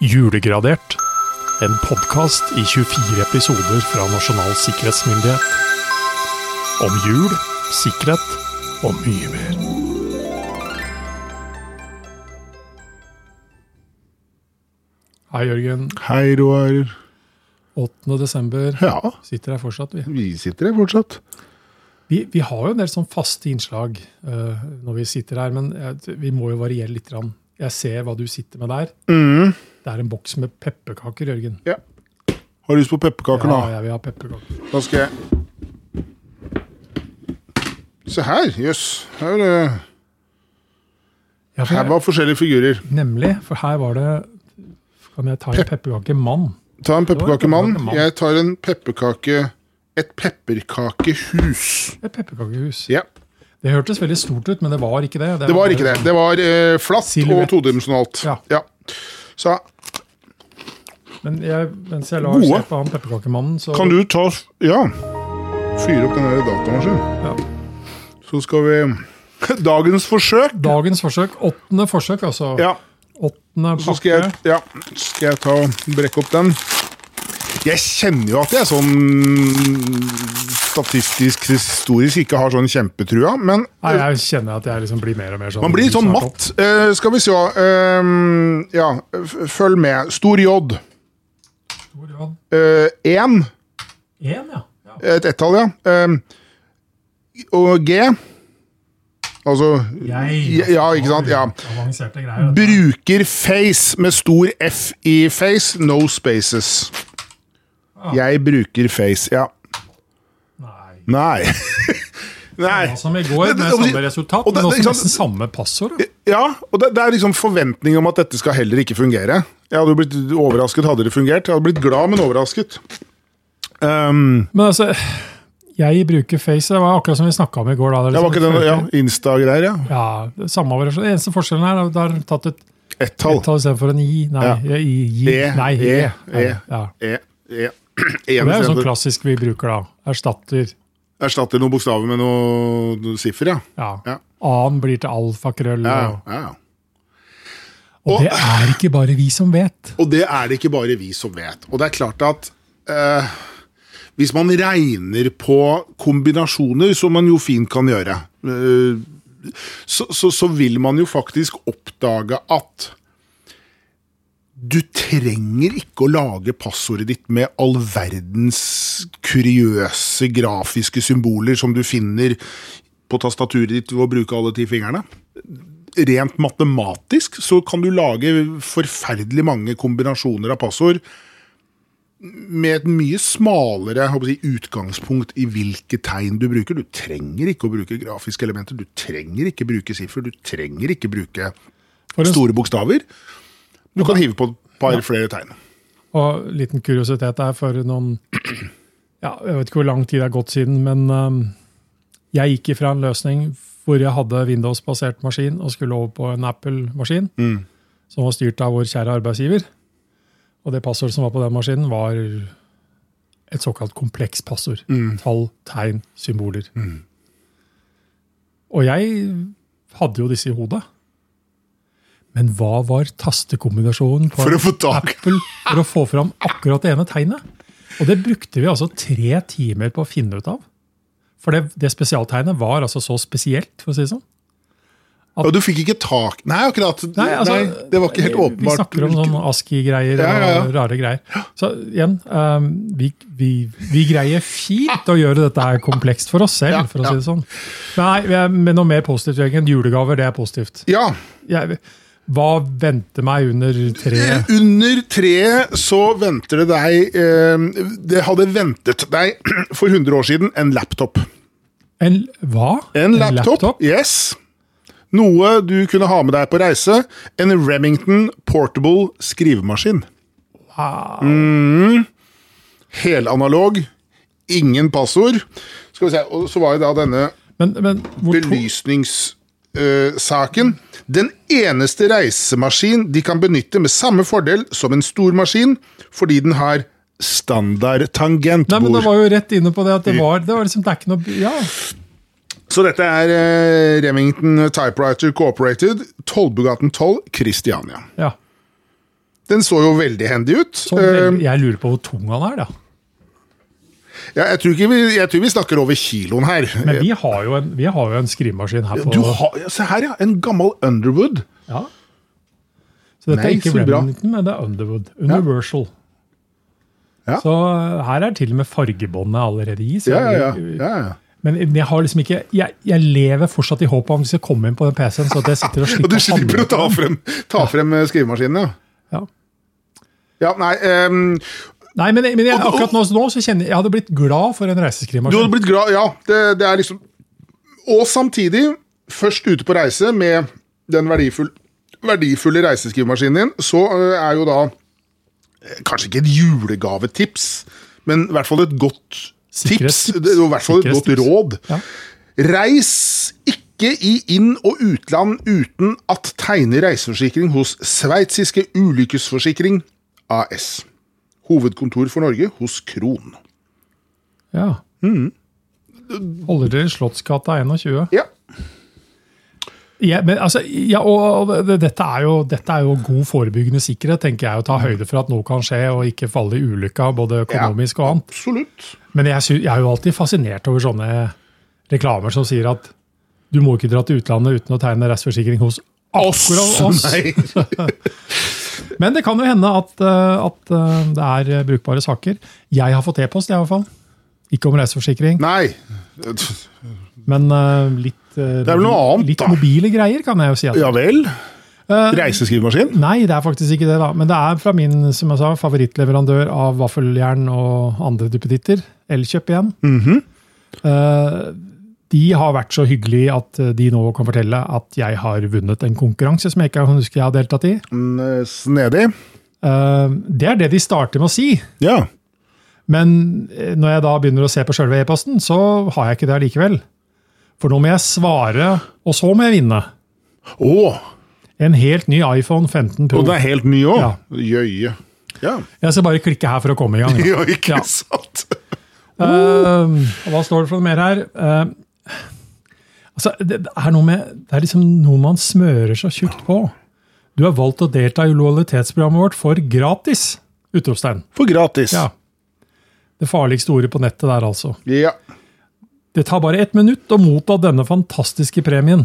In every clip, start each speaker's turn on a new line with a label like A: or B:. A: Julegradert. En podkast i 24 episoder fra Nasjonal sikkerhetsmyndighet. Om jul, sikkerhet og mye mer. Hei, Jørgen.
B: Hei, Roar.
A: 8. desember.
B: Ja,
A: Sitter her fortsatt, vi.
B: vi sitter her fortsatt.
A: Vi, vi har jo en del sånn faste innslag eh, når vi sitter her, men jeg, vi må jo variere litt. Grann. Jeg ser hva du sitter med der.
B: Mm.
A: Det er en boks med pepperkaker, Jørgen.
B: Ja. Har du lyst på pepperkaker
A: Ja,
B: nå?
A: jeg vil ha pepperkaker.
B: Da skal jeg Se her, jøss. Her, eh,
A: Ja, for
B: her var forskjellige figurer.
A: Nemlig, for her var det Kan jeg ta en pepperkake mann?
B: Ta en pepperkakemann.
A: pepperkakemann.
B: Jeg tar en pepperkake Et pepperkakehus.
A: Et pepperkakehus.
B: Ja.
A: Det hørtes veldig stort ut, men det var ikke det.
B: Det var ikke det. Det var eh, flatt
A: Silhuett.
B: og todimensjonalt.
A: Ja.
B: Ja. Så
A: Men jeg, mens jeg lar
B: Gode.
A: se på han pepperkakemannen, så
B: kan du ta Ja. Fyre opp den der datamaskinen.
A: ja.
B: Så skal vi Dagens forsøk.
A: Dagens forsøk. Åttende forsøk, altså.
B: Ja.
A: Åttende
B: Så
A: pakke.
B: skal jeg, ja, skal jeg ta og brekke opp den. Jeg kjenner jo at jeg sånn statistisk historisk ikke har sånn kjempetrua, men
A: Nei, jeg kjenner at jeg liksom blir mer og mer sånn
B: man blir sånn
A: snart opp.
B: matt. Eh, skal vi se ehm, Ja, f- følg med. Stor J.
A: Hvor er han?
B: Én.
A: En, ja. ja.
B: et ettall, ja. Ehm, og G. Altså
A: Jeg,
B: Ja, ikke sant? Ja.
A: Avanserte greier. altså. dette.
B: Bruker face med stor F i face, no spaces.
A: Ah.
B: Jeg bruker face, ja.
A: Nei.
B: Nei. Nei.
A: Ja, altså. Som i går,
B: Det- det-
A: med
B: og det-
A: samme resultat,
B: og det-
A: men
B: det-
A: også
B: ikke sant?
A: nesten samme passord. da.
B: Ja, og det, det er liksom forventning om at dette skal heller ikke fungere. Jeg hadde jo blitt overrasket hadde det fungert. Jeg hadde blitt glad, men overrasket. Ehm,
A: Men altså, jeg bruker Face. Det var akkurat som vi snakka om i går. Da. Det er
B: det var
A: liksom-
B: ikke den ja, Insta-greier, ja.
A: Ja, det samme variasjon. Den eneste forskjellen her er at du har tatt et
B: Ett tall.
A: tall istedenfor en i. Nei,
B: Ja.
A: ja. i, i,
B: E,
A: nei,
B: E, E.
A: Ja.
B: E, e,
A: Det er jo sånn
B: eneste-
A: klassisk vi bruker, da. Erstatter.
B: Erstatter noen bokstaver med noen siffer, ja.
A: Ja.
B: Ja.
A: A-en blir til alfakrøll.
B: Ja,
A: og-
B: ja, ja.
A: Og det er ikke bare vi som vet.
B: Og det er det ikke bare vi som vet. Og det er klart at eh, hvis man regner på kombinasjoner, som man jo fint kan gjøre, eh, så, så, så vil man jo faktisk oppdage at du trenger ikke å lage passordet ditt med all verdens kuriøse grafiske symboler som du finner på tastaturet ditt ved å bruke alle ti fingrene rent matematisk så kan du lage forferdelig mange kombinasjoner av passord med et mye smalere jeg håper å si, utgangspunkt i hvilke tegn du bruker. Du trenger ikke å bruke grafiske elementer, du trenger ikke bruke siffer, du trenger ikke bruke
A: For en
B: store bokstaver. Du kan hive på et par flere tegn.
A: Og liten kuriositet der for noen ja, Jeg vet ikke hvor lang tid det er gått siden, men ehm, jeg gikk ifra en løsning hvor jeg hadde Windows-basert maskin og skulle over på en Apple-maskin,
B: Mm.
A: som var styrt av vår kjære arbeidsgiver. Og det passordet som var på den maskinen, var et såkalt komplekst passord.
B: Mm.
A: Tall, tegn, symboler. Og jeg hadde jo disse i hodet. Men hva var tastekombinasjonen på
B: For
A: en
B: å få tak.
A: Apple for å få fram akkurat det ene tegnet? Og det brukte vi altså tre timer på å finne ut av. For det, det spesialtegnet var altså så spesielt, for å si det sånn.
B: Og du fikk ikke tak Nei, akkurat. Nei,
A: Nei, altså,
B: det var ikke helt
A: Vi
B: åpenbart.
A: snakker om sånn ASCII-greier
B: Ja, ja, ja.
A: og rare greier. Så igjen, ehm, vi, vi, vi greier fint å gjøre dette her komplekst for oss selv,
B: Ja,
A: for å
B: ja.
A: si det sånn. Nei, vi er- men noe mer positivt, Jørgen. Julegaver, det er positivt.
B: Ja,
A: Jeg, hva venter meg under treet?
B: Eh, Under treet så venter det deg eh, Det hadde ventet deg for 100 år siden en laptop.
A: En hva?
B: En laptop, yes. Noe du kunne ha med deg på reise. En Remington Portable skrivemaskin. Mm.
A: Wow.
B: Helanalog. Ingen passord. Skal vi se, og Så var jo da denne
A: Men, men hvor to-
B: belysningssaken. Den eneste reisemaskin de kan benytte med samme fordel som en stor maskin, fordi den har standard
A: Nei, men det
B: tangentbord.
A: var jo rett inne på det at det var, det var liksom, det er ikke noe Ja.
B: Så dette er eh, Remington Typewriter Cooperated, Tollbugaten 12, Kristiania.
A: ja.
B: Den så jo veldig handy ut. Ehm,
A: Sånn, vel- jeg lurer på hvor tung han er, da.
B: Eh, ja, jeg, tror ikke vi, jeg tror vi snakker over kiloen her. Eh,
A: Men vi har jo en, vi har jo en skrivemaskin her på
B: Du har, ja, se her, ja. En gammel Underwood.
A: ja. Så dette
B: Nei,
A: er ikke
B: så bra.
A: Remington, men det er Underwood. Universal.
B: Ja.
A: Så eh, her er til og med fargebåndet allerede i. så
B: Ja, ja, ja.
A: jeg-
B: ja, ja.
A: Men jeg har liksom ikke Jeg, jeg lever fortsatt i håp om hvis jeg kommer inn på den PC-en, så at jeg sitter og
B: Og
A: slipper
B: du slipper å ta
A: handle.
B: frem, ta frem eh, skrivemaskinen, ja.
A: Ja.
B: Ja, nei, ehm,
A: Nei, men, men jeg,
B: Og- og-
A: akkurat nå, nå så kjenner jeg Jeg hadde blitt glad for en
B: Du hadde
A: reiseskrivemaskin.
B: blitt glad, ja. Det, det er liksom Og samtidig, først ute på reise med den verdifull, verdifulle reiseskrivemaskinen din, så ø, er jo da eh, Kanskje ikke et julegavetips, men i hvert fall et godt tips.
A: Sikkerhetstips.
B: Det er jo I hvert fall et godt
A: Sikkerhetstips.
B: råd.
A: Ja.
B: Reis ikke i inn- og utland uten at tegne reiseforsikring hos Sveitsiske ulykkesforsikring AS. Hovedkontor for Norge hos Kron.
A: Ja.
B: Mm.
A: Holder til Slottsgata 21.
B: Ja,
A: Ja, men altså, ja, og og det- dette er, jo, dette er jo god forebyggende sikkerhet, tenker jeg. Å ta høyde for at noe kan skje, og ikke falle i ulykka, både økonomisk og annet.
B: absolutt.
A: Men jeg, sy- jeg er jo alltid fascinert over sånne reklamer som sier at du må ikke dra til utlandet uten å tegne restforsikring hos akkurat oss.
B: Nei.
A: Men det kan jo hende at, eh, at eh, det er eh, brukbare saker. Jeg har fått e-post, i hvert fall. Ikke om reiseforsikring,
B: Nei.
A: men eh, litt, eh,
B: er vel noe annet,
A: litt
B: da.
A: mobile greier, kan jeg jo si. At.
B: Ja vel.
A: Eh,
B: Reiseskrivemaskin?
A: Nei, det er faktisk ikke det, da. Men det er fra min som jeg sa, favorittleverandør av vaffeljern og andre duppeditter. Elkjøp igjen.
B: Mhm.
A: Eh, de har vært så hyggelige at eh, de nå kan fortelle at jeg har vunnet en konkurranse som jeg ikke kan huske jeg har deltatt i.
B: Mm, Snedig?
A: Eh, det er det de starter med å si.
B: Ja.
A: Men eh, når jeg da begynner å se på sjølve e-posten, så har jeg ikke det allikevel. For nå må jeg svare, og så må jeg vinne.
B: Å!
A: En helt ny iPhone 15 Pro.
B: Og den er helt ny òg? Jøye. Ja.
A: Jeg skal bare klikke her for å komme i gang. da.
B: ja, ikke
A: Ja.
B: sant?
A: Eh, og hva står det for noe mer her? Eh, altså, det, det er noe med, det er liksom noe man smører så tjukt på. Du har valgt å delta i lojalitetsprogrammet vårt for gratis! Utropstegn.
B: For gratis.
A: Ja. Det farligste ordet på nettet der, altså.
B: Ja.
A: Det tar bare ett minutt å motta denne fantastiske premien.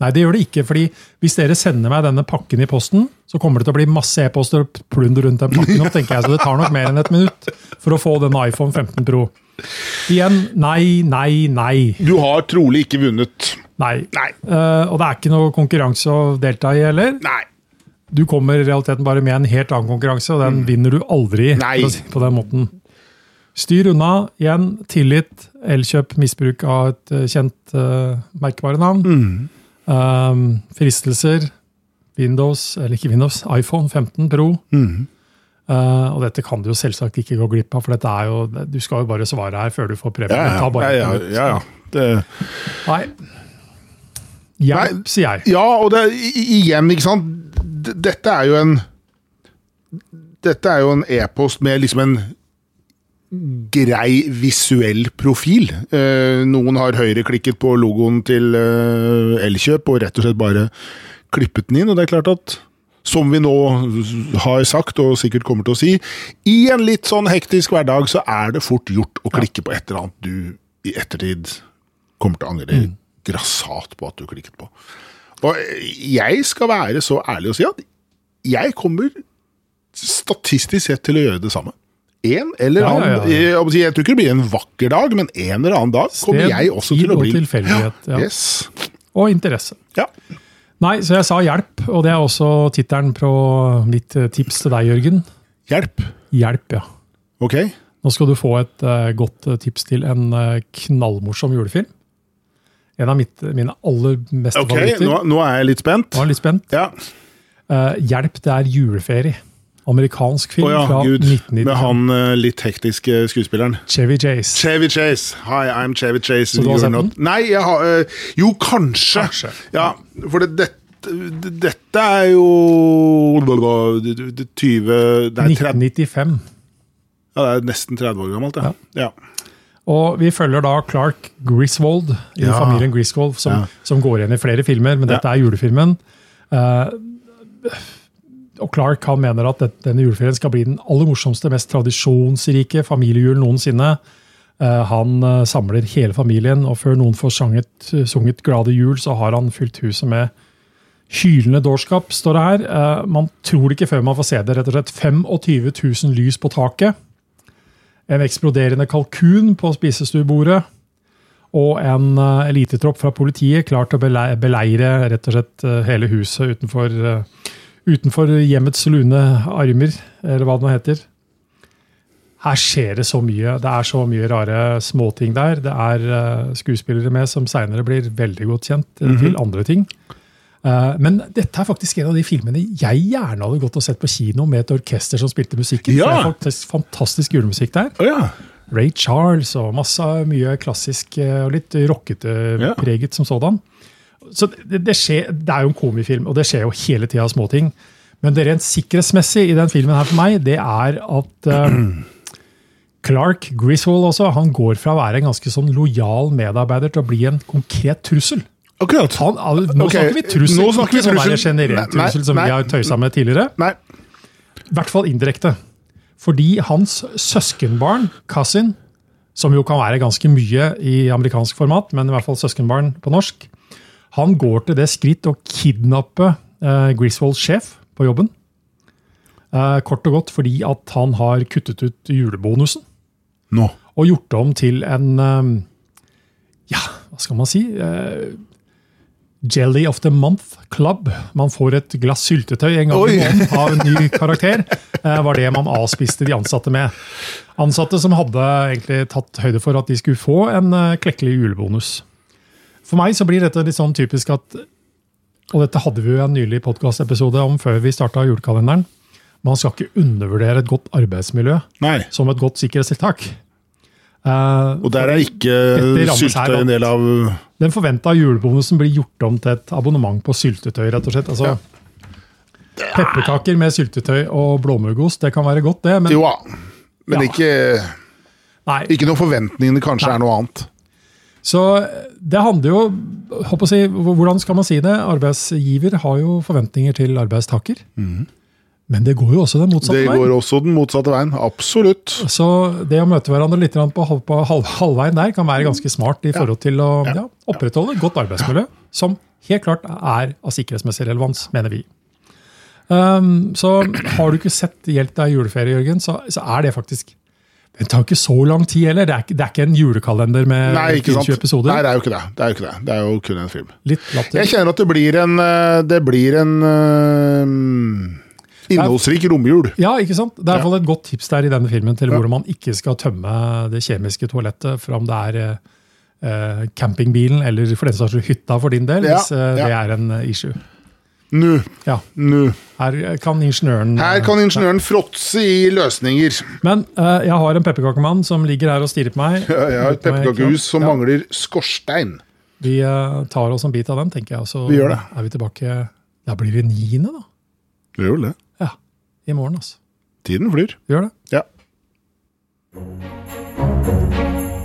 A: Nei, det gjør det ikke, fordi hvis dere sender meg denne pakken i posten, så kommer det til å bli masse e-poster og plunder rundt den pakken, opp, tenker jeg, så det tar nok mer enn et minutt for å få denne iPhone 15 Pro. Igjen, nei, nei, nei.
B: Du har trolig ikke vunnet.
A: nei.
B: Nei.
A: Eh, og det er ikke noe konkurranse å delta i heller.
B: Nei.
A: Du kommer i realiteten bare med en helt annen konkurranse, og den vinner du aldri
B: Mm. Nei.
A: for å si det på den måten. Styr unna. Igjen, tillit, elkjøp, misbruk av et eh, kjent uh, merkevarenavn.
B: Mm.
A: Um, fristelser. Windows, eller ikke Windows, iPhone 15 Pro.
B: Mm.
A: Uh, og dette kan du jo selvsagt ikke gå glipp av, for dette er jo, du skal jo bare svare her før du får premie.
B: Ja,
A: Ta bare
B: ja. ja,
A: et minutt.
B: ja, ja. Det,
A: Nei. Hjelp,
B: Nei.
A: sier jeg.
B: ja, og det, i- igjen, ikke sant D- Dette er jo en Dette er jo en e-post med liksom en grei visuell profil. Eh, noen har høyreklikket på logoen til eh, Elkjøp og rett og slett bare klippet den inn. Og det er klart at, som vi nå har sagt og sikkert kommer til å si, i en litt sånn hektisk hverdag så er det fort gjort å klikke på et eller annet du i ettertid kommer til å angre grassat på at du klikket på. Og jeg skal være så ærlig å si at jeg kommer statistisk sett til å gjøre det samme. En eller
A: Ja, ja,
B: annen
A: ja, ja.
B: jeg, må si, jeg tror ikke det blir en vakker dag, men en eller annen dag kommer
A: Sted,
B: jeg også
A: tid
B: til å
A: og
B: bli
A: tilfeldighet, ja.
B: Yes.
A: Og interesse.
B: Ja.
A: Nei, så jeg sa hjelp, og det er også tittelen på mitt eh, tips til deg, Jørgen.
B: Hjelp.
A: Hjelp, ja.
B: Ok.
A: Nå skal du få et eh, godt eh, tips til en eh, knallmorsom julefilm. En av mitt, mine aller meste
B: Ok,
A: favoritter.
B: nå, nå er jeg litt spent.
A: Nå er jeg litt spent.
B: Ja.
A: Eh, hjelp, det er juleferie. Amerikansk film
B: Å ja,
A: fra
B: gud. Med
A: 1990.
B: han eh, litt hektiske skuespilleren.
A: Chevy Chase.
B: Chevy Chase. Hi, I'm Chevy Chase.
A: Så du har
B: You're
A: sett
B: not- Nei, jeg har eh, Jo, kanskje.
A: Kanskje.
B: Ja, for det, dette, dette er jo 20 Nei, 30,
A: 1995.
B: ja, det er nesten 30 år gammelt, ja. ja.
A: Og vi følger da Clark Griswold i
B: Ja.
A: familien Griswold, som,
B: Ja.
A: som går igjen i flere filmer, men
B: Ja.
A: dette er julefilmen. Eh, og Clark han mener at det- denne juleferien skal bli den aller morsomste, mest tradisjonsrike familiejulen noensinne. Eh, Han eh, samler hele familien, og før noen får sanget, sunget 'Glade jul', så har han fylt huset med hylende dårskap, står det her. Eh, Man tror det ikke før man får se det. rett og slett 25 000 lys på taket. En eksploderende kalkun på spisestuebordet. Og en eh, elitetropp fra politiet klar til å belei- beleire rett og slett eh, hele huset utenfor eh, utenfor hjemmets lune armer, eller hva det nå heter. Her skjer det så mye. Det er så mye rare småting der. Det er eh, skuespillere med som seinere blir veldig godt kjent eh, til andre ting. Eh, men dette er faktisk en av de filmene jeg gjerne hadde gått og sett på kino med et orkester som spilte musikken. for
B: Ja.
A: Det er faktisk fantastisk julemusikk der.
B: Å ja.
A: Ray Charles og masse mye klassisk eh, og litt rockete
B: Ja.
A: preget som sådan. Så det, det, skjer, det er jo en komifilm, og det skjer jo hele tida småting. Men det rent sikkerhetsmessig i den filmen her for meg, det er at eh, Clark Griswold også, han går fra å være en ganske sånn lojal medarbeider til å bli en konkret trussel.
B: Akkurat.
A: Han, al- nå
B: Ok,
A: snakker vi trussel,
B: nå snakker vi
A: ikke sånn der
B: trussel.
A: generell
B: Nei, nei,
A: trussel som
B: nei.
A: vi har tøysa med tidligere.
B: Nei.
A: I hvert fall indirekte. Fordi hans søskenbarn, Kasin, som jo kan være ganske mye i amerikansk format, men i hvert fall søskenbarn på norsk, han går til det skritt å kidnappe eh, Griswolds sjef på jobben. Eh, kort og godt fordi at han har kuttet ut julebonusen
B: Nå.
A: og gjort det om til en eh, Ja, hva skal man si? eh, Jelly of the Month Club. Man får et glass syltetøy en gang
B: Oi.
A: i måneden av en ny karakter. eh, var det man avspiste de ansatte med. Ansatte som hadde egentlig tatt høyde for at de skulle få en eh, klekkelig julebonus. For meg så blir dette litt sånn typisk at Og dette hadde vi jo en nylig podkastepisode om før vi starta julekalenderen. Man skal ikke undervurdere et godt arbeidsmiljø
B: Nei.
A: som et godt sikkerhetstiltak. Eh,
B: Og der er
A: Dette
B: ikke
A: rammes her,
B: syltetøy
A: da.
B: en del av
A: den forventa julebonusen blir gjort om til et abonnement på syltetøy. rett og slett. Altså, Pepperkaker med syltetøy og blåmuggost, det kan være godt, det. Men
B: Jo da. Men
A: Ja.
B: ikke,
A: nei.
B: ikke når forventningene kanskje er noe annet.
A: Så det handler jo håper å si, Hvordan skal man si det? Arbeidsgiver har jo forventninger til arbeidstaker. Men det går jo også den motsatte
B: Mhm. Det
A: veien.
B: går også den motsatte veien. Absolutt.
A: Så det å møte hverandre litt grann på, halv, på halv, halvveien der kan være ganske smart i forhold til å ja, opprettholde et godt arbeidsmiljø, som helt klart er av sikkerhetsmessig relevans, mener vi. Um, så har du ikke sett Hjelp deg i juleferie, Jørgen, så, så er det faktisk Det tar ikke så lang tid heller. Det er, ikke- det er ikke en julekalender med
B: Nei, ikke sant.
A: 20 episoder.
B: Nei, det er jo ikke det. Det er jo ikke det. Det er jo kun en film.
A: Litt latter.
B: Jeg kjenner at det blir en eh, Det blir en eh, innholdsrik romjul.
A: Ja, ikke sant? Det er i hvert fall et godt tips der i denne filmen til hvordan man ikke skal tømme det kjemiske toalettet fra om det er eh, eh, campingbilen eller for den saks skyld hytta for din del,
B: Ja,
A: hvis eh, det
B: ja.
A: er en eh, issue.
B: Nå.
A: Ja,
B: Nå.
A: her kan ingeniøren eh,
B: Her kan ingeniøren fråtse i løsninger.
A: Men eh, jeg har en pepperkakemann som ligger her og stirrer på meg.
B: Jeg har et
A: Uten meg,
B: pepperkakehus
A: ikke sant?
B: som mangler skorstein.
A: Vi eh, tar oss en bit av den, tenker jeg, og så
B: Vi gjør det.
A: er vi tilbake Da blir det niende, da.
B: Det gjør vel det.
A: Ja, I morgen, altså.
B: Tiden flyr.
A: Vi gjør det.
B: Ja.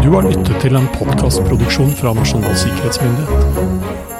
A: Du har lyttet til en podkastproduksjon fra Nasjonal sikkerhetsmyndighet.